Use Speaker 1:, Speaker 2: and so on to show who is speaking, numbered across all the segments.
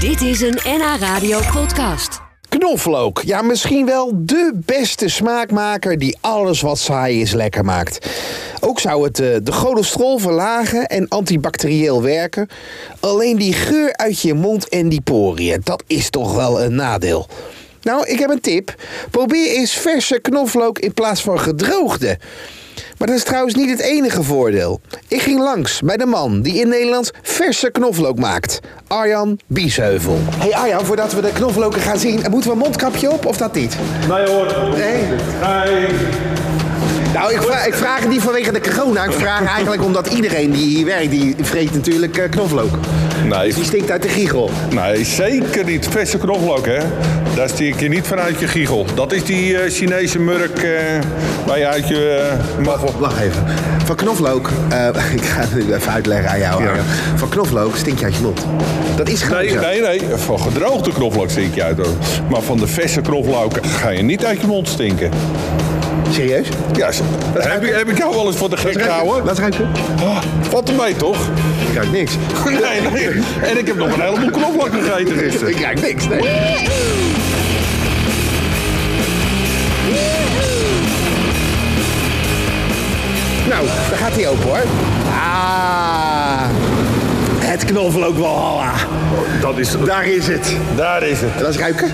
Speaker 1: Dit is een NH Radio podcast.
Speaker 2: Knoflook, ja misschien wel de beste smaakmaker die alles wat saai is lekker maakt. Ook zou het eh, de cholesterol verlagen en antibacterieel werken. Alleen die geur uit je mond en die poriën, dat is toch wel een nadeel. Nou, ik heb een tip. Probeer eens verse knoflook in plaats van gedroogde. Maar dat is trouwens niet het enige voordeel. Ik ging langs bij de man die in Nederland verse knoflook maakt. Arjan Biesheuvel. Hé hey Arjan, voordat we de knoflooken gaan zien, moeten we een mondkapje op of dat niet?
Speaker 3: Nee hoor.
Speaker 2: Nee.
Speaker 3: Nee.
Speaker 2: Nou, ik, vra- ik vraag het niet vanwege de corona. Ik vraag eigenlijk omdat iedereen die hier werkt, die vreet natuurlijk eh, knoflook.
Speaker 3: Nee,
Speaker 2: Die stinkt uit de giegel.
Speaker 3: nee, zeker niet. Verse knoflook, hè. Daar steek je niet vanuit je giegel. Dat is die eh, Chinese murk eh, waar je uit je eh, maffel...
Speaker 2: Wacht even. Van knoflook, eh, ik ga het nu even uitleggen aan jou.
Speaker 3: Ja.
Speaker 2: Arjan. Van knoflook stink je uit je mond. Dat is gewoon
Speaker 3: Nee,
Speaker 2: zo.
Speaker 3: nee, nee. Van gedroogde knoflook stink je uit. hoor. Maar van de verse knoflook ga je niet uit je mond stinken.
Speaker 2: Serieus?
Speaker 3: Ja, zo- heb, ik- heb ik jou wel eens voor de gek gehouden?
Speaker 2: Laat ruiken.
Speaker 3: Ah, Wat ermee, toch?
Speaker 2: Ik ruik niks.
Speaker 3: Nee, nee. En ik heb nog een heleboel knoflook gegeten gisteren.
Speaker 2: Ik ruik niks, nee. Nou, daar gaat hij open hoor. Ah, het knoflook Walhalla.
Speaker 3: Dat is...
Speaker 2: Daar is het.
Speaker 3: Daar is het.
Speaker 2: Laat eens ruiken.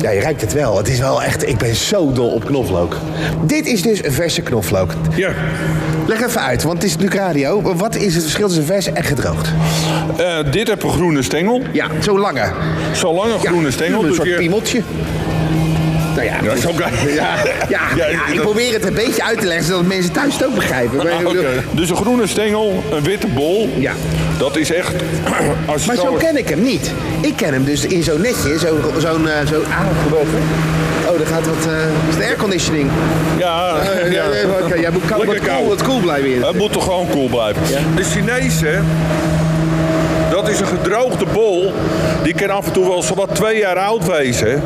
Speaker 2: Ja, je ruikt het wel. Het is wel echt... Ik ben zo dol op knoflook. Dit is dus een verse knoflook.
Speaker 3: Ja.
Speaker 2: Leg even uit, want het is natuurlijk radio. Wat is het verschil tussen vers en gedroogd?
Speaker 3: Eh, dit heb een groene stengel.
Speaker 2: Ja, zo lange.
Speaker 3: Zo'n lange
Speaker 2: Ja,
Speaker 3: groene stengel.
Speaker 2: Een
Speaker 3: dus
Speaker 2: soort
Speaker 3: je-
Speaker 2: piemeltje. Nou ja,
Speaker 3: Ja, zo kan
Speaker 2: Ja, ja, ja, ik
Speaker 3: dat-
Speaker 2: probeer het een beetje uit te leggen zodat mensen thuis het ook begrijpen. Maar,
Speaker 3: Ah, oké. Dus een groene stengel, een witte bol.
Speaker 2: Ja.
Speaker 3: Dat is echt... Als je
Speaker 2: maar zo ken ik hem niet. Ik ken hem dus in zo'n netje, zo- zo'n... Zo zo, ah, gebeurt er? Oh, daar gaat wat... eh, is de airconditioning?
Speaker 3: Ja,
Speaker 2: Eh, nee,
Speaker 3: ja.
Speaker 2: nee, maar oké, jij moet koud-
Speaker 3: Lekker
Speaker 2: wat koel-
Speaker 3: koud.
Speaker 2: wat koel blijven hier.
Speaker 3: Het moet toch gewoon koel blijven. De Chinezen, dat is een gedroogde bol. Die kan af en toe wel zowat twee jaar oud wezen.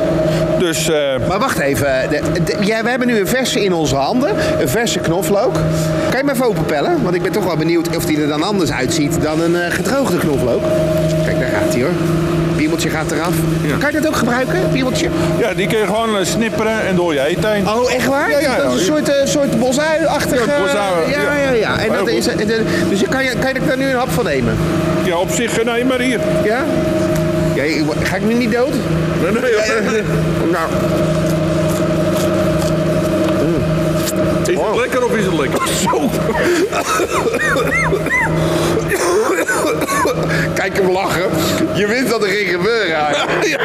Speaker 3: Dus eh,
Speaker 2: Maar wacht even. de- de- ja, we hebben nu een verse in onze handen. Een verse knoflook. Kan je me even openpellen? Want ik ben toch wel benieuwd of die er dan anders uitziet dan een eh, gedroogde knoflook. Kijk, daar gaat hij hoor. Piebeltje gaat eraf.
Speaker 3: Ja.
Speaker 2: Kan je dat ook gebruiken, piebeltje?
Speaker 3: ja, die kun je gewoon eh, snipperen en door je eten heen.
Speaker 2: Oh, echt waar?
Speaker 3: Ja, ja, ja.
Speaker 2: Dat is een soort, eh, soort bosui-achtige...
Speaker 3: Ja, bosui,
Speaker 2: ja, ja,
Speaker 3: ja.
Speaker 2: ja. En dat
Speaker 3: Heel
Speaker 2: is,
Speaker 3: goed.
Speaker 2: en de- dus je kan, je, kan je daar nu een hap van nemen?
Speaker 3: Ja, op zich, eh, nee, maar hier.
Speaker 2: Ja? ja ik- ga ik nu niet dood?
Speaker 3: Nee, nee, nee.
Speaker 2: Nou,
Speaker 3: Is het lekker of is het lekker?
Speaker 2: kijk hem lachen. Je wist dat er ging gebeuren. Arie.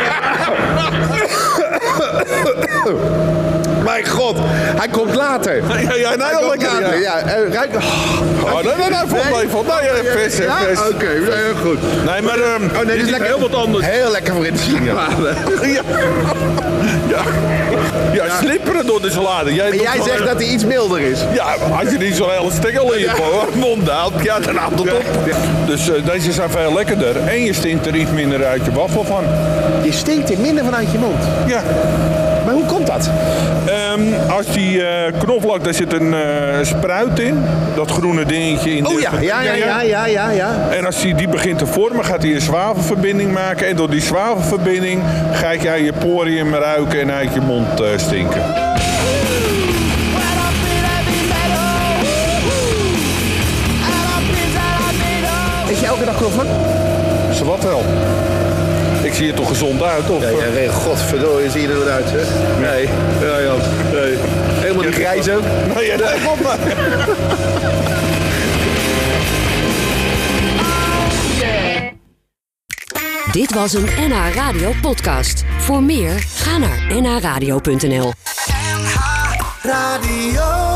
Speaker 2: Mijn god, hij komt later.
Speaker 3: Ja, ja, nee,
Speaker 2: Hij
Speaker 3: heel
Speaker 2: komt
Speaker 3: lekker. Ja.
Speaker 2: later, ja. eh, ruik...
Speaker 3: Oh, nee, nee, nee, volgens mij
Speaker 2: Nou,
Speaker 3: valt nee, eh, vers, eh,
Speaker 2: Ja?
Speaker 3: vers.
Speaker 2: Oké, heel goed.
Speaker 3: Nee, maar ehm
Speaker 2: Oh, nee,
Speaker 3: dit is
Speaker 2: lekker.
Speaker 3: heel wat anders.
Speaker 2: Heel lekker voor in de salade.
Speaker 3: Ja. Ja. ja, slipperen door de salade. Jij
Speaker 2: En
Speaker 3: doet
Speaker 2: jij
Speaker 3: gewoon
Speaker 2: zegt
Speaker 3: echt-
Speaker 2: dat hij iets milder is.
Speaker 3: Ja, maar als je niet zo'n hele stengel in je po- mond haalt, ja, dan haalt het op. Dus eh, deze zijn veel lekkerder. En je stinkt er iets minder uit je wafel van.
Speaker 2: Je stinkt er minder vanuit je mond.
Speaker 3: Ja.
Speaker 2: Maar hoe komt dat?
Speaker 3: Ehm, als die eh knoflook, daar zit een eh, spruit in. Dat groene dingetje in.
Speaker 2: Oh
Speaker 3: de-
Speaker 2: ja, ja, ja, ja, ja, ja. ja.
Speaker 3: En als die, die begint te vormen, gaat hij een zwavelverbinding maken. En door die zwavelverbinding ga je aan je poriën ruiken en uit je mond eh, stinken.
Speaker 2: Eet je elke dag knoflook?
Speaker 3: Zowat wel. Ik zie er toch gezond uit, of? eh?
Speaker 2: ja, godverdorie, zie je er wat uit, hè?
Speaker 3: Nee. Ja, ja. Nee.
Speaker 2: Helemaal niet grijs ook.
Speaker 3: Nee, ja, nee. klopt, maar-
Speaker 1: Dit was een NH Radio podcast. Voor meer, ga naar nhradio.nl.
Speaker 4: NH Radio.